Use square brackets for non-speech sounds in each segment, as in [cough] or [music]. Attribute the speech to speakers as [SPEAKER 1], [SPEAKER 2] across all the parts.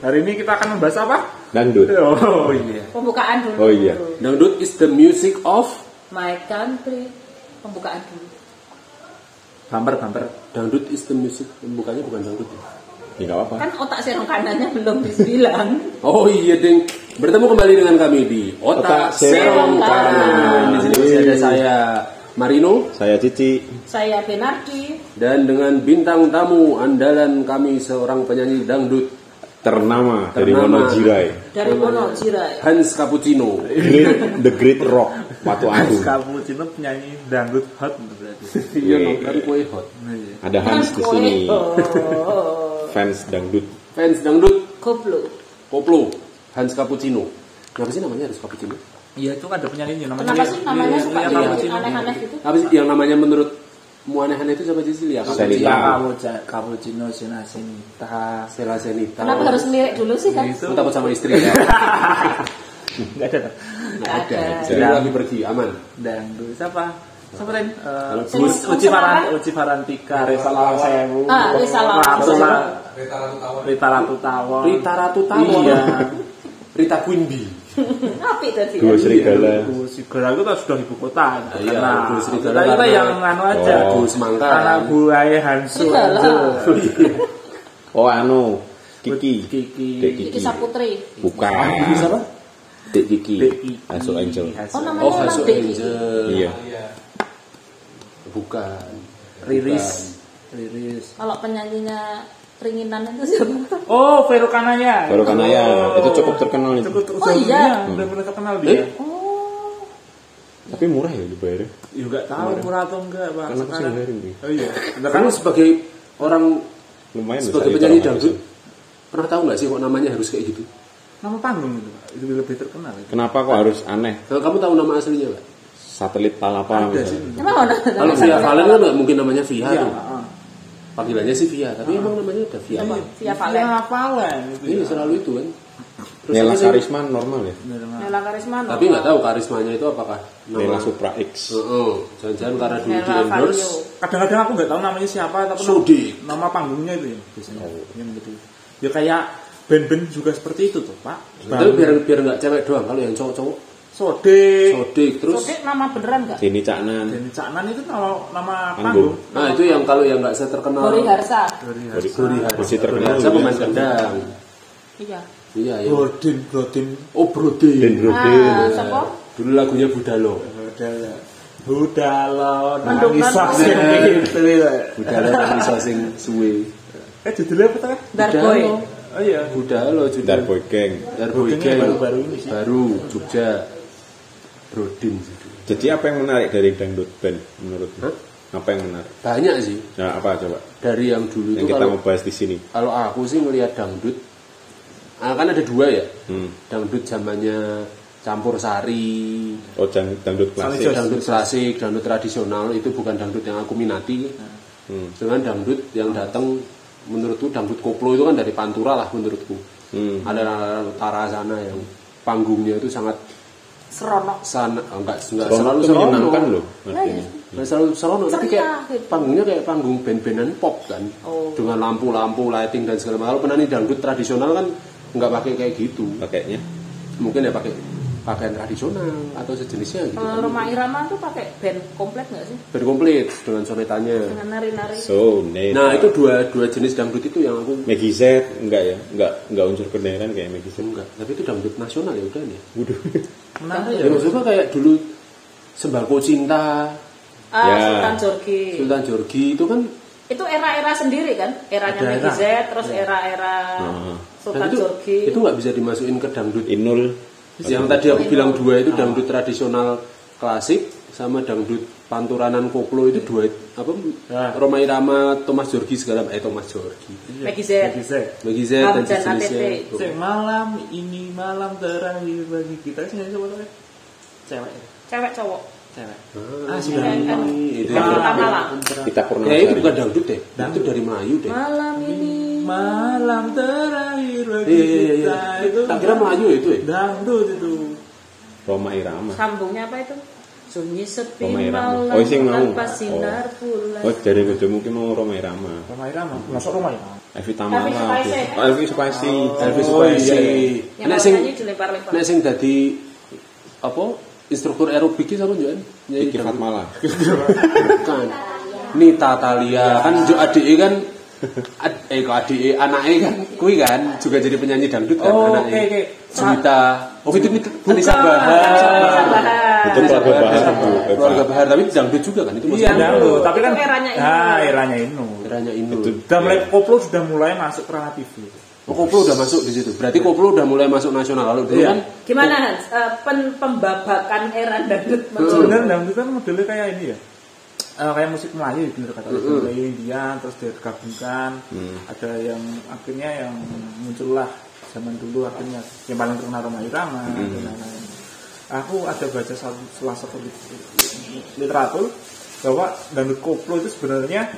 [SPEAKER 1] Hari ini kita akan membahas apa?
[SPEAKER 2] Dangdut.
[SPEAKER 1] Oh iya.
[SPEAKER 3] Pembukaan dulu.
[SPEAKER 2] Oh, iya.
[SPEAKER 4] Dangdut is the music of
[SPEAKER 3] My country. Pembukaan dulu.
[SPEAKER 1] Bumper bumper.
[SPEAKER 4] dangdut is the music bukannya bukan dangdut. ya?
[SPEAKER 2] Ya nggak apa-apa.
[SPEAKER 3] Kan otak serong kanannya belum dibilang.
[SPEAKER 4] Oh iya ding. Bertemu kembali dengan kami di
[SPEAKER 2] Otak
[SPEAKER 4] Otak
[SPEAKER 2] Serong
[SPEAKER 4] Serong Kanan. Di sini masih ada saya Marino
[SPEAKER 2] Saya Cici.
[SPEAKER 3] Saya Benardi.
[SPEAKER 4] dan dengan bintang tamu andalan kami seorang penyanyi dangdut
[SPEAKER 2] Ternama, dari
[SPEAKER 4] Ternama.
[SPEAKER 2] Monojirai.
[SPEAKER 4] Oh,
[SPEAKER 3] Dari
[SPEAKER 4] iya.
[SPEAKER 3] Wonogiraya.
[SPEAKER 4] Hans Cappuccino.
[SPEAKER 2] Great, the Great Rock. Patu Agung.
[SPEAKER 1] Kamu Cino penyanyi dangdut hot berarti.
[SPEAKER 4] Iya dong, kan kue hot.
[SPEAKER 2] Ada Hans di sini.
[SPEAKER 3] Iya. Oh,
[SPEAKER 2] Fans dangdut.
[SPEAKER 4] Fans dangdut
[SPEAKER 3] goblok.
[SPEAKER 4] koplo Hans Cappuccino. Kenapa sih namanya harus Cappuccino?
[SPEAKER 1] [laughs] Iya itu ada penyanyinya namanya. Iya,
[SPEAKER 4] Iya,
[SPEAKER 3] Kenapa sih namanya
[SPEAKER 1] Yulia-
[SPEAKER 3] suka
[SPEAKER 1] Yulia
[SPEAKER 3] gitu,
[SPEAKER 1] Kapucino.
[SPEAKER 3] aneh-aneh gitu?
[SPEAKER 4] Apa sih yang namanya menurut muanehana itu siapa sih Lia?
[SPEAKER 1] Iya.
[SPEAKER 2] Selita.
[SPEAKER 1] Kapucino, Kapucino, Sinasinita. [laughs]
[SPEAKER 4] Sela Senita.
[SPEAKER 3] Kenapa harus lirik dulu sih kan?
[SPEAKER 4] Lu takut sama istri [laughs] ya?
[SPEAKER 1] Enggak ada. tak?
[SPEAKER 4] Nggak Nah, ada.
[SPEAKER 3] Nggak ada.
[SPEAKER 4] Jadi lu lagi pergi, aman.
[SPEAKER 1] Dangdut siapa? Siapa lain? Eh,
[SPEAKER 2] Kalau
[SPEAKER 1] Uci-
[SPEAKER 3] Gus-
[SPEAKER 1] Uci Faran,
[SPEAKER 3] Farhan.
[SPEAKER 1] Uci Farantika, Resa Lawasewu,
[SPEAKER 3] Ah, Resa Lawasewu.
[SPEAKER 1] Rita Ratu Tawon,
[SPEAKER 4] Rita Ratu Tawon.
[SPEAKER 1] Iya.
[SPEAKER 4] Rita Quimby.
[SPEAKER 3] Api Hmm, tadi. kan?
[SPEAKER 2] Dua serigala.
[SPEAKER 1] Gus Sigala itu kan sudah ibu kota.
[SPEAKER 4] iya,
[SPEAKER 1] Nah,
[SPEAKER 4] Gus Sigala
[SPEAKER 1] kita kita
[SPEAKER 4] karena-
[SPEAKER 1] yang anu aja.
[SPEAKER 4] Oh, Gus Mangka.
[SPEAKER 1] Anak buahnya Hansu.
[SPEAKER 3] Sigala.
[SPEAKER 1] Hansu.
[SPEAKER 2] Oh anu. Kiki.
[SPEAKER 1] Kiki.
[SPEAKER 2] Dek
[SPEAKER 3] Kiki
[SPEAKER 2] Kiki.
[SPEAKER 3] Saputri.
[SPEAKER 2] Bukan.
[SPEAKER 4] Siapa?
[SPEAKER 2] Dek Kiki.
[SPEAKER 1] Dek Kiki.
[SPEAKER 2] Asu Angel.
[SPEAKER 1] Hansu.
[SPEAKER 3] Oh namanya
[SPEAKER 4] Oh,
[SPEAKER 3] orang
[SPEAKER 4] Hasu
[SPEAKER 3] Dek Kiki.
[SPEAKER 4] Angel.
[SPEAKER 2] Iya.
[SPEAKER 4] Bukan.
[SPEAKER 1] Riris. Riris.
[SPEAKER 3] Kalau penyanyinya keringinan itu siapa?
[SPEAKER 1] Oh, Vero Kanaya.
[SPEAKER 2] Baru Kanaya.
[SPEAKER 1] Oh.
[SPEAKER 2] Itu cukup terkenal itu.
[SPEAKER 1] Cukup
[SPEAKER 3] Oh, iya.
[SPEAKER 1] Benar-benar terkenal
[SPEAKER 4] Eh?
[SPEAKER 1] dia.
[SPEAKER 3] Oh,
[SPEAKER 2] Tapi murah ya dibayarnya.
[SPEAKER 1] Ya enggak tahu murah atau enggak, Pak.
[SPEAKER 2] Karena aku
[SPEAKER 1] Sekarang.
[SPEAKER 2] sendiri ini.
[SPEAKER 1] Oh iya.
[SPEAKER 4] Bukan. Nah, Kamu sebagai orang
[SPEAKER 2] Lumayan loh,
[SPEAKER 4] sebagai
[SPEAKER 2] saya
[SPEAKER 4] penyanyi
[SPEAKER 2] orang Hansu.
[SPEAKER 4] dangdut pernah tahu nggak sih kok namanya harus kayak gitu?
[SPEAKER 1] Nama panggung itu, Pak. Itu lebih terkenal. itu.
[SPEAKER 2] Kenapa kok harus aneh?
[SPEAKER 4] Kalau kamu tahu nama aslinya nggak?
[SPEAKER 2] Satelit Palapa
[SPEAKER 1] Ada sih.
[SPEAKER 2] misalnya.
[SPEAKER 3] emang ada.
[SPEAKER 4] Kalau Via Valen kan nggak mungkin namanya Via
[SPEAKER 1] Iya,
[SPEAKER 4] tuh.
[SPEAKER 1] heeh.
[SPEAKER 4] Panggilannya sih Via, tapi emang namanya udah Via apa?
[SPEAKER 1] Via
[SPEAKER 3] Via Valen.
[SPEAKER 1] Valen itu.
[SPEAKER 4] Iya
[SPEAKER 1] ya.
[SPEAKER 4] selalu itu kan. Terus
[SPEAKER 2] Nela
[SPEAKER 4] apa sih?
[SPEAKER 2] Karisma normal ya.
[SPEAKER 1] Bener, Pak.
[SPEAKER 3] Nela Karisma.
[SPEAKER 4] Tapi nggak tahu karismanya itu apakah
[SPEAKER 2] Nela Supra X.
[SPEAKER 4] Heeh, jangan-jangan karena dulu di
[SPEAKER 3] Nela
[SPEAKER 4] endorse.
[SPEAKER 3] Vario.
[SPEAKER 1] Kadang-kadang aku nggak tahu namanya siapa, tapi
[SPEAKER 4] Sudi.
[SPEAKER 1] nama panggungnya itu ya biasanya. Yang gitu. Ya kayak band-band juga seperti itu tuh, Pak.
[SPEAKER 4] Tapi biar biar nggak cewek doang kalau yang cowok-cowok
[SPEAKER 1] Sode.
[SPEAKER 4] sodik terus
[SPEAKER 3] Oke, nama beneran nggak?
[SPEAKER 2] Dini Caknan.
[SPEAKER 1] Dan Caknan itu nama, nama
[SPEAKER 2] Panggung.
[SPEAKER 1] panggung.
[SPEAKER 4] nah itu yang kalau yang nggak seterkenal
[SPEAKER 3] Bori Harsa.
[SPEAKER 1] Dari
[SPEAKER 2] Dari- Masih
[SPEAKER 4] masih
[SPEAKER 2] terkenal.
[SPEAKER 4] terkenal
[SPEAKER 2] juga.
[SPEAKER 4] pemain kendang
[SPEAKER 3] Iya.
[SPEAKER 4] iya ya
[SPEAKER 1] Brodin, Brodin.
[SPEAKER 4] oh
[SPEAKER 2] Den
[SPEAKER 4] Brode
[SPEAKER 2] Brodin.
[SPEAKER 3] Ah, siapa?
[SPEAKER 4] dulu lagunya Budalo
[SPEAKER 1] Budala. Budala
[SPEAKER 3] Mendungan
[SPEAKER 1] nangisah
[SPEAKER 3] kok.
[SPEAKER 1] sing gitu ya. [laughs]
[SPEAKER 4] Budalo tapi bisa sing suwe
[SPEAKER 1] Eh judulnya apa tadi?
[SPEAKER 3] Darboy.
[SPEAKER 1] Oh iya.
[SPEAKER 4] Budalo
[SPEAKER 2] Dar
[SPEAKER 4] judul
[SPEAKER 2] Boy Gang.
[SPEAKER 4] Darboy
[SPEAKER 1] Budenya
[SPEAKER 4] Gang.
[SPEAKER 1] baru-baru ini sih.
[SPEAKER 4] baru Jogja Brodin judul.
[SPEAKER 2] Jadi apa yang menarik dari dangdut band menurutmu? Apa yang menarik?
[SPEAKER 4] banyak sih
[SPEAKER 2] Nah, apa coba?
[SPEAKER 4] dari yang dulu
[SPEAKER 2] Yang
[SPEAKER 4] itu
[SPEAKER 2] kita
[SPEAKER 4] kalau
[SPEAKER 2] mau bahas di sini.
[SPEAKER 4] kalau aku sih ngelihat dangdut ah, kan ada dua ya
[SPEAKER 2] Hmm.
[SPEAKER 4] dangdut zamannya campur sari
[SPEAKER 2] Oh, dang- dangdut
[SPEAKER 1] Sorry,
[SPEAKER 2] klasik.
[SPEAKER 1] sorry.
[SPEAKER 4] dangdut klasik dangdut tradisional itu bukan dangdut yang aku minati
[SPEAKER 2] Hmm.
[SPEAKER 4] cuman dangdut yang datang menurutku dangdut koplo itu kan dari pantura lah menurutku
[SPEAKER 2] Hmm.
[SPEAKER 4] ada daerah utara sana yang panggungnya itu sangat
[SPEAKER 3] Seronok.
[SPEAKER 4] sana oh, enggak enggak
[SPEAKER 2] Seronok
[SPEAKER 4] selalu
[SPEAKER 2] itu
[SPEAKER 4] seronok.
[SPEAKER 2] menyenangkan loh.
[SPEAKER 3] Nah,
[SPEAKER 2] artinya.
[SPEAKER 3] iya.
[SPEAKER 4] Nggak selalu seronok tapi
[SPEAKER 3] Ceria,
[SPEAKER 4] kayak
[SPEAKER 3] gitu.
[SPEAKER 4] panggungnya kayak panggung band-bandan pop kan
[SPEAKER 3] Oh.
[SPEAKER 4] dengan lampu-lampu lighting dan segala macam kalau penani dangdut tradisional kan nggak pakai kayak gitu
[SPEAKER 2] Pakainya
[SPEAKER 4] mungkin ya pakai pakaian tradisional atau sejenisnya gitu
[SPEAKER 3] Kalau rumah irama tuh pakai band komplit nggak sih?
[SPEAKER 4] berkomplit dengan sonetannya
[SPEAKER 3] Dengan nari-nari.
[SPEAKER 2] so net.
[SPEAKER 4] Nah itu dua dua jenis dangdut itu yang aku
[SPEAKER 2] Maggie Z enggak ya? Enggak enggak unsur kedaerahan kayak Maggie Z.
[SPEAKER 4] enggak, tapi itu dangdut nasional ya udah nih.
[SPEAKER 2] Waduh. [laughs]
[SPEAKER 1] Menarik
[SPEAKER 3] Iya.
[SPEAKER 4] Ya,
[SPEAKER 1] ya.
[SPEAKER 4] maksudnya kayak dulu sembako cinta,
[SPEAKER 3] Ah,
[SPEAKER 2] Ya.
[SPEAKER 3] Sultan Jorgi.
[SPEAKER 4] Sultan Jorgi itu kan
[SPEAKER 3] Itu era-era sendiri kan? Eranya
[SPEAKER 1] Ada
[SPEAKER 3] Meggy
[SPEAKER 1] era.
[SPEAKER 3] Z, terus era-era
[SPEAKER 2] Nah.
[SPEAKER 4] dan
[SPEAKER 3] Sultan
[SPEAKER 4] itu
[SPEAKER 3] Jorgi.
[SPEAKER 4] itu nggak bisa dimasukin ke dangdut.
[SPEAKER 2] Inul.
[SPEAKER 4] Yang tadi aku
[SPEAKER 3] Iya.
[SPEAKER 4] bilang
[SPEAKER 3] Ah.
[SPEAKER 4] dua itu dangdut tradisional klasik sama dangdut panturanan koplo itu dua apa
[SPEAKER 3] Nah.
[SPEAKER 1] Ah.
[SPEAKER 4] Roma Irama, Thomas Jorgi segala eh Thomas Jorgi.
[SPEAKER 3] Meggy Z.
[SPEAKER 1] Maggie Z.
[SPEAKER 4] Bagi Z dan
[SPEAKER 3] Hamzah
[SPEAKER 4] jenisnya.
[SPEAKER 3] ATT.
[SPEAKER 1] Sing malam ini malam terakhir bagi kita sih siapa tadi? Cewek,
[SPEAKER 3] Cewek cowok.
[SPEAKER 1] cewek.
[SPEAKER 4] Ah, sudah
[SPEAKER 3] Iya,
[SPEAKER 4] ini,
[SPEAKER 3] kan.
[SPEAKER 4] itu.
[SPEAKER 3] Yang pertama lah.
[SPEAKER 2] Kita pernah
[SPEAKER 4] Ya itu bukan dangdut deh, itu dari Melayu deh.
[SPEAKER 3] Malam ini.
[SPEAKER 1] Malam terakhir bagi
[SPEAKER 4] Iya, iya, iya.
[SPEAKER 1] kita itu.
[SPEAKER 4] Tak kira Melayu ya itu ya?
[SPEAKER 1] Dangdut itu.
[SPEAKER 2] Roma Irama.
[SPEAKER 3] Sambungnya apa itu? sunyi sepi
[SPEAKER 2] Romai Rama.
[SPEAKER 3] malam
[SPEAKER 2] Oh, sing mau.
[SPEAKER 3] tanpa sinar bulan
[SPEAKER 2] Oh, dari bojomu ki mau Roma Irama.
[SPEAKER 1] Roma Irama, masuk Roma Irama.
[SPEAKER 2] Elvi Tamara.
[SPEAKER 3] Elvi Sukaesih.
[SPEAKER 2] Oh, Elvi Oh, iya, Sukaesih. Elvi
[SPEAKER 4] Elvis
[SPEAKER 2] Sukaesih.
[SPEAKER 3] yang
[SPEAKER 4] Nek
[SPEAKER 3] kalau
[SPEAKER 4] sing
[SPEAKER 3] nyanyi dilempar-lempar
[SPEAKER 4] nek sing dadi apa instruktur aerobik ki sapa njukan?
[SPEAKER 2] Iki Fatmala.
[SPEAKER 4] Bukan. Nita Talia kan jo adike kan ad- eh kok adike anake kan kuwi kan juga jadi penyanyi dangdut kan
[SPEAKER 1] Oh,
[SPEAKER 4] anake.
[SPEAKER 1] oke, oke.
[SPEAKER 4] Juwita. Oh itu itu Anissa
[SPEAKER 1] Bukan.
[SPEAKER 4] Bahar.
[SPEAKER 3] Bisa bahas.
[SPEAKER 2] Itu keluarga Bahar. Bu.
[SPEAKER 4] Keluarga Bahar tapi dangdut juga kan itu
[SPEAKER 1] Iya,
[SPEAKER 4] maksudnya.
[SPEAKER 1] dulu. Tapi kan
[SPEAKER 3] Itu eranya Inu.
[SPEAKER 1] Ah, eranya Inu.
[SPEAKER 4] Kiranya Inul.
[SPEAKER 2] Itu
[SPEAKER 1] Sudah mulai koplo sudah mulai masuk ke ranah TV.
[SPEAKER 4] Oh, Koplo udah masuk di situ. Berarti Koplo udah mulai masuk nasional lalu dulu
[SPEAKER 1] Iya.
[SPEAKER 4] kan
[SPEAKER 3] gimana Hans Eh, pen- pembabakan era dangdut maksudnya
[SPEAKER 1] Sebenarnya dangdut kan modelnya kayak ini ya. Eh, kayak musik Melayu bener kata musik Melayu Indian terus digabungkan ada yang akhirnya yang muncullah zaman dulu akhirnya yang paling terkenal Roma Irama dan lain-lain. Aku ada baca satu, salah satu lit- literatur bahwa dangdut koplo itu sebenarnya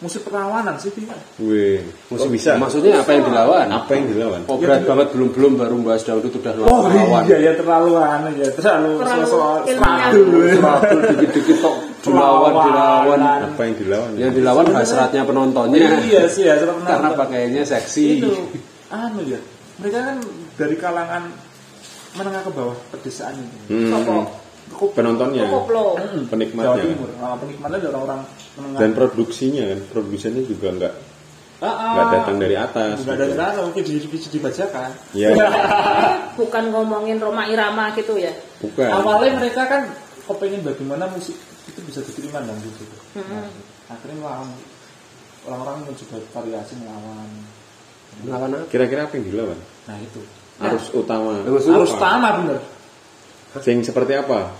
[SPEAKER 1] musik perlawanan sih dia.
[SPEAKER 2] Wih, Oh, mesti bisa.
[SPEAKER 4] Maksudnya apa yang dilawan?
[SPEAKER 2] Apa yang dilawan?
[SPEAKER 4] Oh berat banget belum-belum baru bahas dangdut udah
[SPEAKER 1] Iya. Oh
[SPEAKER 4] lawan.
[SPEAKER 1] iya ya terlalu aneh ya terlalu
[SPEAKER 3] Terlalu
[SPEAKER 1] soal
[SPEAKER 3] ilmiah.
[SPEAKER 4] Serabul dikit-dikit tok dilawan dilawan.
[SPEAKER 2] Apa yang dilawan?
[SPEAKER 4] Yang dilawan hasratnya penontonnya.
[SPEAKER 1] Iya sih ya serap
[SPEAKER 4] Karena
[SPEAKER 1] nonton.
[SPEAKER 4] pakainya seksi.
[SPEAKER 1] itu anu ya mereka kan dari kalangan menengah ke bawah pedesaan itu
[SPEAKER 2] Hmm.
[SPEAKER 3] Sopok.
[SPEAKER 1] Iya.
[SPEAKER 2] Penontonnya,
[SPEAKER 3] koplo
[SPEAKER 1] Jawa
[SPEAKER 2] penikmatnya,
[SPEAKER 1] Timur nah, penikmatnya dari orang-orang menengah
[SPEAKER 2] dan produksinya kan, produsennya juga nggak
[SPEAKER 1] Ah, ah.
[SPEAKER 2] nggak datang dari atas.
[SPEAKER 1] nggak
[SPEAKER 2] gitu.
[SPEAKER 1] dari sana mungkin di, di, dibacakan
[SPEAKER 2] Iya,
[SPEAKER 3] bukan ngomongin Roma Irama gitu ya
[SPEAKER 2] bukan.
[SPEAKER 1] awalnya mereka kan kepengen bagaimana musik itu bisa diterima dan gitu Nah, akhirnya melawan orang-orang mencoba variasi melawan
[SPEAKER 4] Melawan apa?
[SPEAKER 2] Kira-kira apa yang dilawan?
[SPEAKER 1] nah itu
[SPEAKER 2] Arus utama.
[SPEAKER 4] Arus
[SPEAKER 2] Apa?
[SPEAKER 1] harus utama bener
[SPEAKER 2] Sing seperti apa?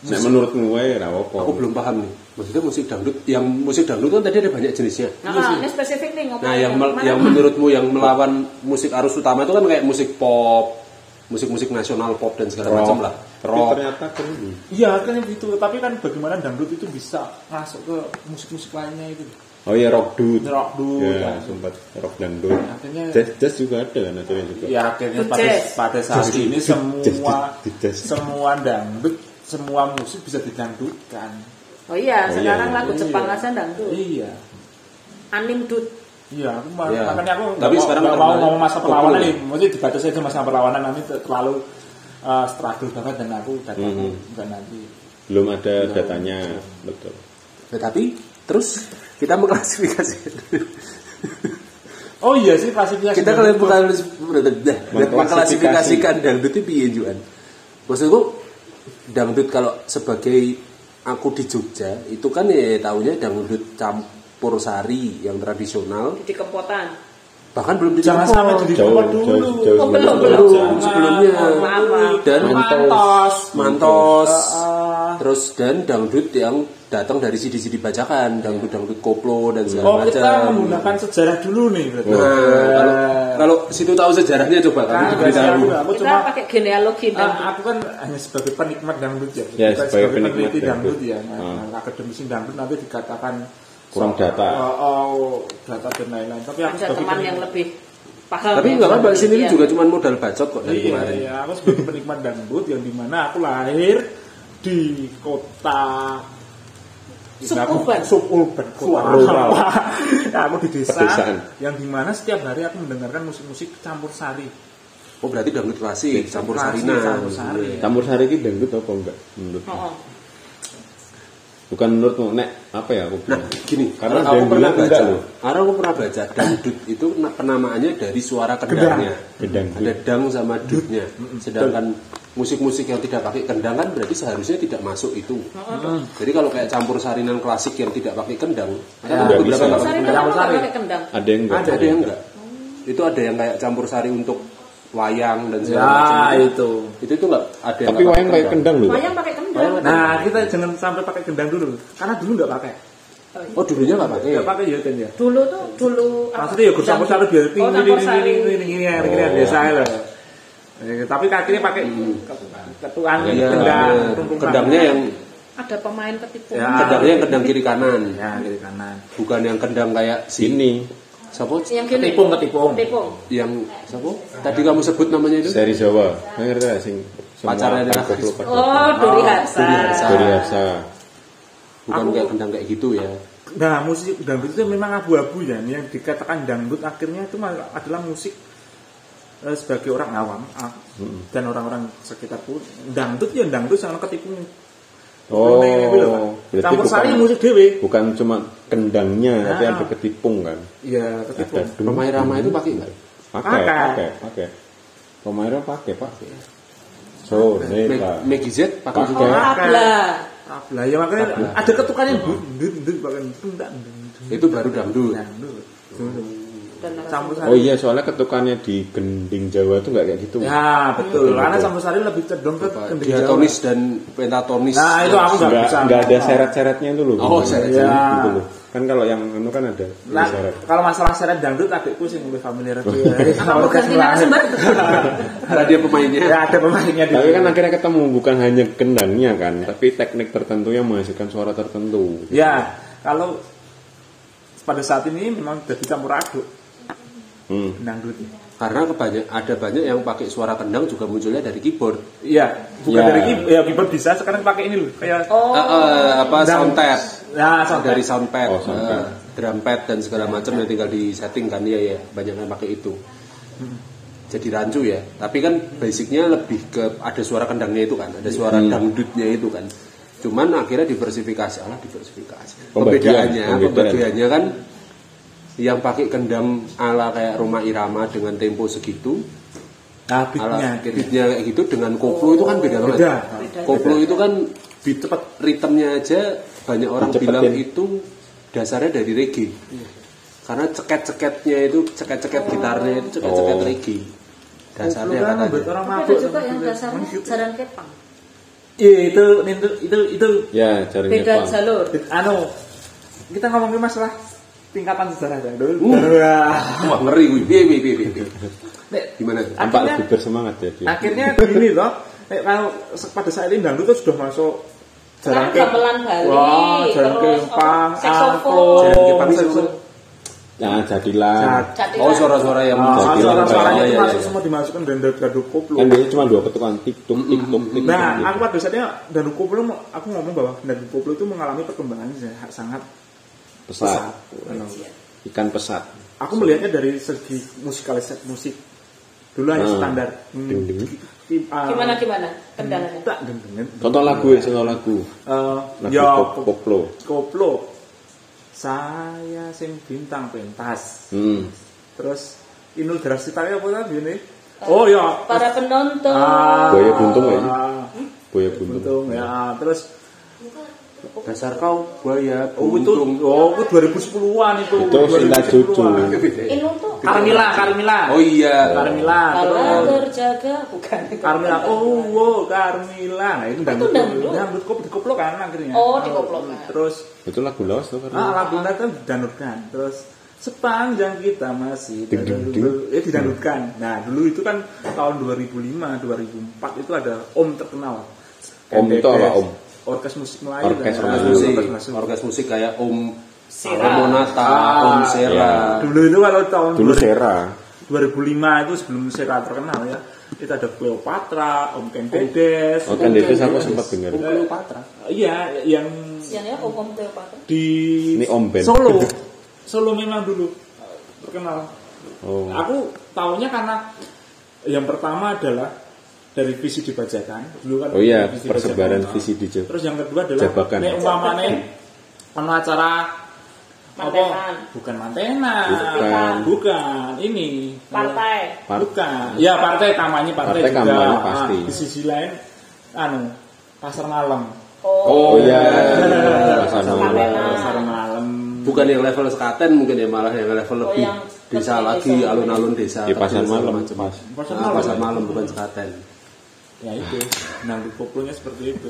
[SPEAKER 2] Nah, menurutmu wae ra apa?
[SPEAKER 4] Aku belum paham nih. Maksudnya musik dangdut, yang musik dangdut kan tadi ada banyak jenisnya.
[SPEAKER 1] Iya
[SPEAKER 3] nah ini spesifik nih ngomongin
[SPEAKER 4] Nah, yang mel-
[SPEAKER 3] mana?
[SPEAKER 4] yang menurutmu yang melawan musik arus utama itu kan kayak musik pop, musik-musik nasional pop dan segala macam lah.
[SPEAKER 2] Tapi
[SPEAKER 4] Rock.
[SPEAKER 2] ternyata keren.
[SPEAKER 1] iya akhirnya gitu tapi kan bagaimana dangdut itu bisa masuk ke musik-musik lainnya itu
[SPEAKER 2] Oh iya rock dude.
[SPEAKER 1] Rock dude,
[SPEAKER 2] Ya,
[SPEAKER 1] ya.
[SPEAKER 2] sempat rock dangdut.
[SPEAKER 1] Akhirnya-
[SPEAKER 2] Jazz, jazz juga ada kan akhirnya juga.
[SPEAKER 1] Ya akhirnya
[SPEAKER 3] Jazz.
[SPEAKER 1] pada, pada saat ini semua
[SPEAKER 2] Jazz, jazz.
[SPEAKER 1] semua dangdut, semua musik bisa didangdutkan.
[SPEAKER 3] oh iya
[SPEAKER 2] Oh,
[SPEAKER 3] sekarang
[SPEAKER 2] iya,
[SPEAKER 3] lagu
[SPEAKER 1] iya.
[SPEAKER 3] Jepang aja dangdut
[SPEAKER 1] Iya.
[SPEAKER 3] anim dut
[SPEAKER 1] Iya, aku ma-
[SPEAKER 4] Iya.
[SPEAKER 1] makanya aku
[SPEAKER 4] Tapi
[SPEAKER 1] nggak mau-
[SPEAKER 4] sekarang
[SPEAKER 1] nggak mau
[SPEAKER 4] terkenal-
[SPEAKER 1] ngomong masa
[SPEAKER 4] populer.
[SPEAKER 1] perlawanan nih, mesti dibatasi aja masa perlawanan nanti ter- terlalu uh, struggle banget dan aku kata aku nggak nanti.
[SPEAKER 2] Belum ada datanya. Betul.
[SPEAKER 4] Tetapi terus kita mengklasifikasi.
[SPEAKER 1] Oh iya sih klasiknya
[SPEAKER 4] kita kalau bukan mengklasifikasikan dangdut itu piye Juan? Maksudku dangdut kalau sebagai aku di Jogja itu kan ya tahunya dangdut campur sari yang tradisional
[SPEAKER 3] di kempotan
[SPEAKER 4] bahkan belum di
[SPEAKER 1] jangan sampai jadi
[SPEAKER 2] Jauh,
[SPEAKER 1] tempat
[SPEAKER 2] jauh,
[SPEAKER 1] dulu.
[SPEAKER 2] jauh.
[SPEAKER 3] oh belum belum
[SPEAKER 4] belum sebelumnya
[SPEAKER 3] Maaf, maaf.
[SPEAKER 4] dan
[SPEAKER 1] Mantos.
[SPEAKER 4] mantos
[SPEAKER 1] Ah,
[SPEAKER 4] terus dan dangdut yang datang dari sidi-sidi bajakan dangdut dangdut koplo dan segala
[SPEAKER 1] Oh kita
[SPEAKER 4] macam
[SPEAKER 1] menggunakan sejarah dulu nih berarti.
[SPEAKER 4] Nah, kalau kalau situ tahu sejarahnya coba kamu
[SPEAKER 1] Nah,
[SPEAKER 4] diberitahu.
[SPEAKER 1] aku- aku
[SPEAKER 3] kita
[SPEAKER 1] cuma
[SPEAKER 3] pakai genealogi
[SPEAKER 1] Ah,
[SPEAKER 3] dangdut
[SPEAKER 1] aku kan hanya sebagai penikmat dangdut ya,
[SPEAKER 2] Ya,
[SPEAKER 1] bukan
[SPEAKER 2] sebagai
[SPEAKER 1] sebagai
[SPEAKER 2] penikmat
[SPEAKER 1] peneliti
[SPEAKER 2] dangdut.
[SPEAKER 1] dangdut, ya. Nah,
[SPEAKER 2] Ah.
[SPEAKER 1] nah, akademisi dangdut nanti dikatakan
[SPEAKER 2] Kurang data.
[SPEAKER 1] Oh, oh, data dan lain-lain. Tapi aku gitu.
[SPEAKER 3] ada
[SPEAKER 1] sebagai
[SPEAKER 3] teman
[SPEAKER 1] penikmat-
[SPEAKER 3] yang lebih paham
[SPEAKER 4] Tapi
[SPEAKER 3] ya,
[SPEAKER 4] nggak apa-apa
[SPEAKER 3] soal
[SPEAKER 4] sini
[SPEAKER 3] penelitian.
[SPEAKER 4] juga cuma modal bacot kok dari
[SPEAKER 1] Iya,
[SPEAKER 4] kemarin.
[SPEAKER 1] iya, aku sebagai penikmat dangdut yang dimana aku lahir di kota
[SPEAKER 3] Suburban.
[SPEAKER 1] suburban kota
[SPEAKER 2] Rural.
[SPEAKER 1] rawa. Nah, aku di desa
[SPEAKER 2] Pedesaan.
[SPEAKER 1] yang dimana setiap hari aku mendengarkan musik-musik campur sari
[SPEAKER 4] Oh berarti dangdut klasik, campur
[SPEAKER 1] Klasik, Iya,
[SPEAKER 4] sarina. Iya.
[SPEAKER 1] campur sari
[SPEAKER 2] Campur sari ini dangdut apa enggak? Menurut.
[SPEAKER 3] Oh, oh.
[SPEAKER 2] Bukan menurutmu, Nek, apa ya aku bilang?
[SPEAKER 4] Nah gini,
[SPEAKER 2] Karena ada
[SPEAKER 4] karena aku
[SPEAKER 2] yang
[SPEAKER 4] pernah
[SPEAKER 2] bilang
[SPEAKER 4] baca,
[SPEAKER 2] enggak loh.
[SPEAKER 4] karena aku pernah baca dangdut itu na- penamaannya dari suara kendangnya.
[SPEAKER 2] Gedang.
[SPEAKER 4] Ada dang sama dutnya. Sedangkan musik-musik yang tidak pakai kendang kan berarti seharusnya tidak masuk itu. Jadi kalau kayak campur sarinan klasik yang tidak pakai kendang, kan
[SPEAKER 2] Iya,
[SPEAKER 4] ada
[SPEAKER 2] nggak
[SPEAKER 4] beberapa
[SPEAKER 2] bisa.
[SPEAKER 4] nggak pakai
[SPEAKER 3] Sari
[SPEAKER 4] kendang.
[SPEAKER 3] kenapa
[SPEAKER 1] sari.
[SPEAKER 3] nggak pakai kendang
[SPEAKER 2] Ada yang enggak?
[SPEAKER 4] Ada, ada yang enggak. Itu ada yang kayak campur sari untuk wayang dan segala
[SPEAKER 1] ya
[SPEAKER 4] macam.
[SPEAKER 1] itu
[SPEAKER 4] Itu itu enggak ada yang
[SPEAKER 2] Tapi
[SPEAKER 4] nggak
[SPEAKER 2] wayang
[SPEAKER 4] pakai
[SPEAKER 2] kayak kendang
[SPEAKER 1] Iya.
[SPEAKER 2] loh.
[SPEAKER 3] wayang pakai kendang
[SPEAKER 4] Wayang-
[SPEAKER 1] Nah, kita jangan sampai pakai gendang dulu. Karena dulu nggak pakai.
[SPEAKER 3] Oh, iya.
[SPEAKER 4] Oh dulunya nggak pakai.
[SPEAKER 1] Nggak pakai ya, Ten ya.
[SPEAKER 3] dulu tuh dulu apa?
[SPEAKER 1] Maksudnya ya gue campur sari biar
[SPEAKER 3] oh,
[SPEAKER 1] tinggi ini
[SPEAKER 3] campur
[SPEAKER 1] ini
[SPEAKER 3] sari
[SPEAKER 1] ini ini ini ini ini biasa loh. ya. Eh, Tapi kakinya pakai ya, ketuan
[SPEAKER 4] Iya,
[SPEAKER 1] gendang,
[SPEAKER 4] bener.
[SPEAKER 1] tungkung
[SPEAKER 4] kendangnya yang
[SPEAKER 3] ada pemain petipu
[SPEAKER 1] Ya.
[SPEAKER 4] kendangnya yang kendang kiri kanan,
[SPEAKER 1] tangan. ya kiri kanan.
[SPEAKER 4] bukan yang kendang kayak si
[SPEAKER 2] Ini
[SPEAKER 4] siapa?
[SPEAKER 3] yang gini
[SPEAKER 1] Ketipung, ketipung.
[SPEAKER 3] ketipung
[SPEAKER 4] Yang siapa? Tadi kamu sebut namanya itu?
[SPEAKER 2] seri Jawa. Saya ngerti gak sing
[SPEAKER 4] pacarnya Dira
[SPEAKER 2] aku
[SPEAKER 4] Hafiz.
[SPEAKER 2] lupa.
[SPEAKER 3] Oh, Duri Hasan.
[SPEAKER 2] Dari Hafsa.
[SPEAKER 4] bukan
[SPEAKER 1] Aku-
[SPEAKER 4] kayak kendang kayak gitu ya
[SPEAKER 1] Nah, musik dangdut itu memang abu-abu ya. Yang dikatakan dangdut akhirnya itu mal- adalah musik eh, sebagai orang awam ah, dan orang-orang sekitar pun dangdut ya dangdut sangat ketipu. gitu
[SPEAKER 2] Oh, berarti
[SPEAKER 1] Campur sari
[SPEAKER 2] bukan-
[SPEAKER 1] musik dewe.
[SPEAKER 2] Bukan cuma kendangnya, tapi
[SPEAKER 1] Ah.
[SPEAKER 2] ada ketipung kan.
[SPEAKER 1] Iya, ketipu.
[SPEAKER 2] Ada.
[SPEAKER 4] Ramai-ramai itu pakai nggak
[SPEAKER 2] Pakai,
[SPEAKER 1] Pakai.
[SPEAKER 2] pakai, pakai. Pemainnya pakai, pakai. So,
[SPEAKER 4] Meg-
[SPEAKER 2] neta.
[SPEAKER 4] Maggie Z pakai
[SPEAKER 2] Pakai.
[SPEAKER 4] juga
[SPEAKER 3] Oh, tabla.
[SPEAKER 1] Tabla ya makanya ada ketukannya dut dut dut bahkan tundak
[SPEAKER 4] itu baru dangdut
[SPEAKER 1] dangdut.
[SPEAKER 3] Dan
[SPEAKER 1] Campur sari.
[SPEAKER 2] Oh iya, soalnya ketukannya di gending Jawa itu nggak kayak gitu.
[SPEAKER 1] Ya, betul. Karena campur sari lebih cenderung ke
[SPEAKER 4] Apa,
[SPEAKER 1] kendeng Jawa.
[SPEAKER 4] diatonis dan pentatonis
[SPEAKER 1] Nah, itu aku nggak
[SPEAKER 2] Nggak
[SPEAKER 1] bisa.
[SPEAKER 2] nggak ada seret-seretnya itu loh.
[SPEAKER 4] Oh, seret-seret.
[SPEAKER 1] Ya.
[SPEAKER 2] Gitu loh. Kan kalau yang anu kan ada
[SPEAKER 1] Nah,
[SPEAKER 2] seret.
[SPEAKER 1] kalau masalah seret dangdut adikku sih lebih familiar aku ya.
[SPEAKER 3] Apa mau ganti narasumber?
[SPEAKER 4] karena dia pemainnya
[SPEAKER 1] [laughs] Ya ada pemainnya di
[SPEAKER 2] Tapi kan akhirnya ketemu bukan hanya kendangnya kan, tapi teknik tertentu yang menghasilkan suara tertentu.
[SPEAKER 1] Ya, kalau pada saat ini memang jadi campur aduk
[SPEAKER 2] Hmm.
[SPEAKER 1] dangdut.
[SPEAKER 4] karena kebanyak ada banyak yang pakai suara kendang juga munculnya dari keyboard
[SPEAKER 1] Iya, bukan
[SPEAKER 2] Ya.
[SPEAKER 1] dari keyboard, ya keyboard bisa sekarang pakai ini loh, kayak
[SPEAKER 4] Eh,
[SPEAKER 3] Oh.
[SPEAKER 4] eh, apa
[SPEAKER 1] Kendang.
[SPEAKER 4] sound tap
[SPEAKER 1] ya Oh. sound
[SPEAKER 4] dari sound pad,
[SPEAKER 2] Oh, sound pad.
[SPEAKER 4] eh, drum pad dan segala macam yang tinggal di setting kan ya ya banyak yang pakai itu jadi rancu ya tapi kan basicnya lebih ke ada suara kendangnya itu kan ada suara
[SPEAKER 2] Hmm.
[SPEAKER 4] dangdutnya itu kan cuman akhirnya diversifikasi alah
[SPEAKER 2] Pembagian,
[SPEAKER 4] diversifikasi pembedaannya
[SPEAKER 2] pembedaannya.
[SPEAKER 4] pembagiannya kan yang pakai kendang ala kayak rumah irama dengan tempo segitu
[SPEAKER 1] Nah, beatnya.
[SPEAKER 4] ala beatnya kayak gitu dengan koplo itu kan beda banget
[SPEAKER 1] Beda.
[SPEAKER 4] koplo itu kan beat cepet ritmenya aja banyak orang
[SPEAKER 2] Dicepetin.
[SPEAKER 4] bilang itu dasarnya dari reggae karena ceket-ceketnya itu ceket-ceket gitarnya itu ceket-ceket
[SPEAKER 2] Oh.
[SPEAKER 4] reggae
[SPEAKER 1] Dulu
[SPEAKER 4] dasarnya
[SPEAKER 1] kan buat
[SPEAKER 4] katanya
[SPEAKER 1] orang
[SPEAKER 3] Tapi ada
[SPEAKER 1] mabuk.
[SPEAKER 3] juga
[SPEAKER 1] sama
[SPEAKER 3] yang
[SPEAKER 1] gitu.
[SPEAKER 3] dasarnya jaran kepang.
[SPEAKER 1] Iya, itu itu itu itu
[SPEAKER 2] Ya, cari
[SPEAKER 3] Beda
[SPEAKER 2] Jepang.
[SPEAKER 3] jalur.
[SPEAKER 1] anu kita ngomongin masalah tingkatan sejarah ya, dangdut.
[SPEAKER 4] Uh.
[SPEAKER 1] Wah.
[SPEAKER 4] wah ngeri gue Piye, piye, piye, piye, piye.
[SPEAKER 1] Nek,
[SPEAKER 4] gimana tuh?
[SPEAKER 2] Nampak
[SPEAKER 1] Akhirnya-
[SPEAKER 2] lebih bersemangat ya dia.
[SPEAKER 1] akhirnya gini loh nek, kalau se- pada saat ini dangdut itu sudah masuk
[SPEAKER 3] Sekarang gamelan Bali,
[SPEAKER 1] wah jalan
[SPEAKER 3] terus
[SPEAKER 1] kempang
[SPEAKER 3] apa, saksofon.
[SPEAKER 1] angklung,
[SPEAKER 4] Jalan kempang,
[SPEAKER 1] saksofon.
[SPEAKER 4] saksofon.
[SPEAKER 2] Nah, jadilah.
[SPEAKER 1] Jad-
[SPEAKER 4] oh suara-suara yang
[SPEAKER 1] Ah,
[SPEAKER 2] Jadilan,
[SPEAKER 1] suara-suaranya
[SPEAKER 4] Oh,
[SPEAKER 1] itu
[SPEAKER 4] iya,
[SPEAKER 1] masuk
[SPEAKER 4] iya.
[SPEAKER 1] semua dimasukkan dan dangdut koplo
[SPEAKER 2] Kan biasanya cuma dua ketukan tik tuk tik tuk
[SPEAKER 4] iya.
[SPEAKER 2] tik.
[SPEAKER 1] nah
[SPEAKER 2] ya. tuk,
[SPEAKER 1] aku pada saatnya dangdut koplo mau- aku ngomong bahwa dangdut koplo itu mengalami perkembangan yang sangat
[SPEAKER 2] gitu. pesat.
[SPEAKER 1] pesat Anu,
[SPEAKER 2] Ikan pesat.
[SPEAKER 1] aku melihatnya dari segi musikalis musik dulu hanya
[SPEAKER 2] Ah.
[SPEAKER 1] standar Hmm.
[SPEAKER 2] Ding, ding.
[SPEAKER 1] Ki- ah,
[SPEAKER 3] Gimana gimana? Tendangannya.
[SPEAKER 1] tak ding, ding, ding.
[SPEAKER 2] Contoh lagu ya, contoh lagu.
[SPEAKER 1] Eh,
[SPEAKER 2] Lagu
[SPEAKER 1] ya pop-
[SPEAKER 2] pop, poplo.
[SPEAKER 1] koplo saya sing bintang pentas
[SPEAKER 2] Hmm.
[SPEAKER 1] terus inul drasita apa tadi ini oh ya
[SPEAKER 3] Para penonton.
[SPEAKER 1] Ah,
[SPEAKER 2] Buaya buntung ya? Buaya buntung.
[SPEAKER 1] buntung ya terus
[SPEAKER 4] dasar kau buaya
[SPEAKER 1] oh itu
[SPEAKER 4] buntung
[SPEAKER 1] oh itu 2010-an itu
[SPEAKER 2] Itu Sinta Jojo.
[SPEAKER 1] 2010-an.
[SPEAKER 3] Ini tuh
[SPEAKER 1] Carmila Carmila
[SPEAKER 4] oh iya
[SPEAKER 1] Carmila
[SPEAKER 3] kalau
[SPEAKER 1] terus
[SPEAKER 3] terjaga bukan.
[SPEAKER 1] Carmila oh wow Carmila nah itu dangdut
[SPEAKER 3] dangdut.
[SPEAKER 1] dangdut kop dikoplo kan akhirnya
[SPEAKER 3] Oh, dikoplokan.
[SPEAKER 1] terus
[SPEAKER 2] Itu lagu lawas tuh
[SPEAKER 1] Ah,
[SPEAKER 2] kan.
[SPEAKER 1] lagunya kan didanutkan. Terus sepanjang kita masih
[SPEAKER 2] Ding, ding, ding.
[SPEAKER 1] dulu, eh didanutkan. Nah, dulu itu kan tahun 2005, 2004 itu ada Om terkenal.
[SPEAKER 2] Om itu apa,
[SPEAKER 1] MPBS,
[SPEAKER 2] Om?
[SPEAKER 1] Orkes musik Melayu.
[SPEAKER 2] Orkes
[SPEAKER 1] kan?
[SPEAKER 4] orkes
[SPEAKER 2] Orkes
[SPEAKER 4] musik
[SPEAKER 1] Orkes Masuk.
[SPEAKER 4] orkes musik kayak Om
[SPEAKER 3] Sera.
[SPEAKER 4] Ramonata
[SPEAKER 1] Ah,
[SPEAKER 4] Om Sera
[SPEAKER 1] Dulu itu kalau tahun
[SPEAKER 2] Dulu
[SPEAKER 1] 2000
[SPEAKER 2] Sera.
[SPEAKER 1] 2005 itu sebelum Sera terkenal ya. Itu ada Cleopatra, Om Kendedes. Eh,
[SPEAKER 2] Oh, kan itu aku sempat dengar.
[SPEAKER 4] Om Cleopatra
[SPEAKER 1] Iya, yang
[SPEAKER 3] Yang ya Om Om Cleopatra.
[SPEAKER 1] di
[SPEAKER 2] Ini Om Ben.
[SPEAKER 1] Solo. Solo memang dulu eh, terkenal.
[SPEAKER 2] Oh.
[SPEAKER 1] Aku tahunya karena yang pertama adalah dari visi dibacakan dulu kan.
[SPEAKER 2] Oh iya,
[SPEAKER 1] visi
[SPEAKER 2] persebaran
[SPEAKER 1] dibajakan.
[SPEAKER 2] visi di Jawa.
[SPEAKER 1] Terus yang kedua adalah
[SPEAKER 2] Jabakan.
[SPEAKER 1] nek umpamane ono acara apa?
[SPEAKER 3] Mantenan.
[SPEAKER 1] Bukan mantenan.
[SPEAKER 2] Bukan.
[SPEAKER 1] Bukan. Ini
[SPEAKER 3] Partai.
[SPEAKER 2] Part-
[SPEAKER 1] Bukan. Ya partai kampanye partai,
[SPEAKER 2] Partai
[SPEAKER 1] juga.
[SPEAKER 2] kampanye pasti.
[SPEAKER 1] Ah, di sisi lain anu pasar malam.
[SPEAKER 2] Oh iya. Pasar
[SPEAKER 1] Pasar
[SPEAKER 2] malam.
[SPEAKER 1] malam.
[SPEAKER 3] Mantenan.
[SPEAKER 1] Pasar malam.
[SPEAKER 4] bukan yang level sekaten mungkin ya malah yang level
[SPEAKER 3] Oh,
[SPEAKER 4] lebih
[SPEAKER 3] yang lebih
[SPEAKER 4] desa lagi
[SPEAKER 3] desa.
[SPEAKER 4] alun-alun desa
[SPEAKER 2] Di pasar
[SPEAKER 4] terjun
[SPEAKER 2] malam.
[SPEAKER 4] segala macam.
[SPEAKER 1] Pasar
[SPEAKER 4] Ah,
[SPEAKER 1] malam.
[SPEAKER 4] pasar malam bukan sekaten
[SPEAKER 1] ya itu nanggut koplonya seperti itu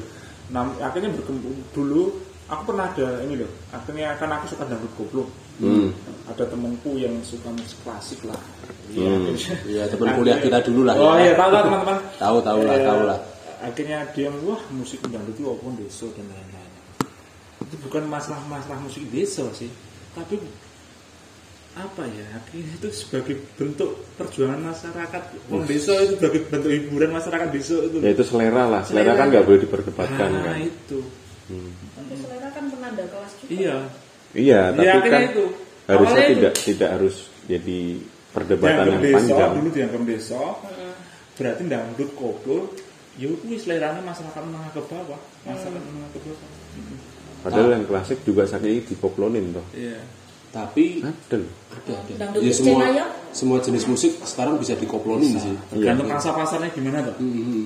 [SPEAKER 1] nah, akhirnya berkembang dulu aku pernah ada ini loh akhirnya kan aku suka dangdut koplo
[SPEAKER 2] Hmm.
[SPEAKER 1] ada temanku yang suka musik klasik lah
[SPEAKER 2] Hmm.
[SPEAKER 4] Iya, teman kuliah kita dulu lah,
[SPEAKER 1] oh
[SPEAKER 4] ya.
[SPEAKER 1] iya tahu lah teman-teman
[SPEAKER 4] Tahu, tahu lah,
[SPEAKER 1] Eh,
[SPEAKER 4] tahu lah.
[SPEAKER 1] akhirnya dia wah musik dangdut itu apapun desa dan lain-lain itu bukan masalah-masalah musik desa sih tapi apa ya akhirnya itu sebagai bentuk perjuangan masyarakat Wong desa itu sebagai bentuk hiburan masyarakat desa itu
[SPEAKER 2] ya itu selera lah selera,
[SPEAKER 1] Selera.
[SPEAKER 2] kan nggak boleh diperdebatkan
[SPEAKER 1] nah
[SPEAKER 2] kan
[SPEAKER 1] itu
[SPEAKER 3] Tapi selera kan penanda kelas juga.
[SPEAKER 1] iya
[SPEAKER 2] iya tapi
[SPEAKER 1] Ya, akhirnya
[SPEAKER 2] kan
[SPEAKER 1] itu.
[SPEAKER 2] harusnya
[SPEAKER 1] Awalnya
[SPEAKER 2] tidak tidak harus jadi perdebatan
[SPEAKER 1] dianggap
[SPEAKER 2] yang
[SPEAKER 1] desa
[SPEAKER 2] panjang
[SPEAKER 1] dulu dianggap desa berarti dangdut koplo ya kuwi seleranya masyarakat menengah ke bawah masyarakat menengah ke bawah Ah.
[SPEAKER 2] padahal yang klasik juga saking dipoplonin toh
[SPEAKER 1] iya
[SPEAKER 4] Tapi
[SPEAKER 2] ada loh
[SPEAKER 4] ada ada.
[SPEAKER 3] Dangdut
[SPEAKER 4] Ya,
[SPEAKER 3] Cina
[SPEAKER 4] semua
[SPEAKER 3] ya?
[SPEAKER 4] semua jenis musik sekarang bisa dikoplonin sih.
[SPEAKER 1] tergantung pasar pasarnya gimana tuh
[SPEAKER 4] Hmm, hmm.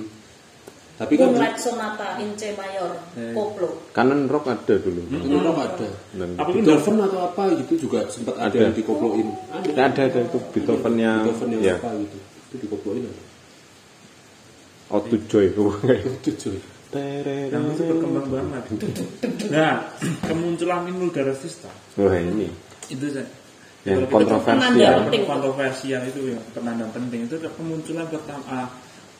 [SPEAKER 4] Tapi kan
[SPEAKER 3] Moonlight Sonata in C mayor, koplo.
[SPEAKER 2] kanan rock ada dulu
[SPEAKER 4] ternyata ada.
[SPEAKER 2] dan
[SPEAKER 1] apa itu
[SPEAKER 4] Beethoven atau apa gitu juga sempat ada,
[SPEAKER 2] Ada.
[SPEAKER 4] yang dikoploin. Ada.
[SPEAKER 2] ada ada itu Beethoven yang
[SPEAKER 4] Beethoven yang
[SPEAKER 2] ya
[SPEAKER 4] apa gitu. Itu dikoploin ada.
[SPEAKER 2] Out to Joy
[SPEAKER 4] Itu cuy.
[SPEAKER 1] dangdut itu berkembang banget
[SPEAKER 2] Hmm.
[SPEAKER 1] nah kemunculan ini Darasista
[SPEAKER 2] wah ini
[SPEAKER 1] itu saya
[SPEAKER 2] yang
[SPEAKER 1] Kalau kita-
[SPEAKER 3] Yang
[SPEAKER 2] kontroversial
[SPEAKER 3] penting.
[SPEAKER 1] kontroversial itu yang penanda penting itu kemunculan pertama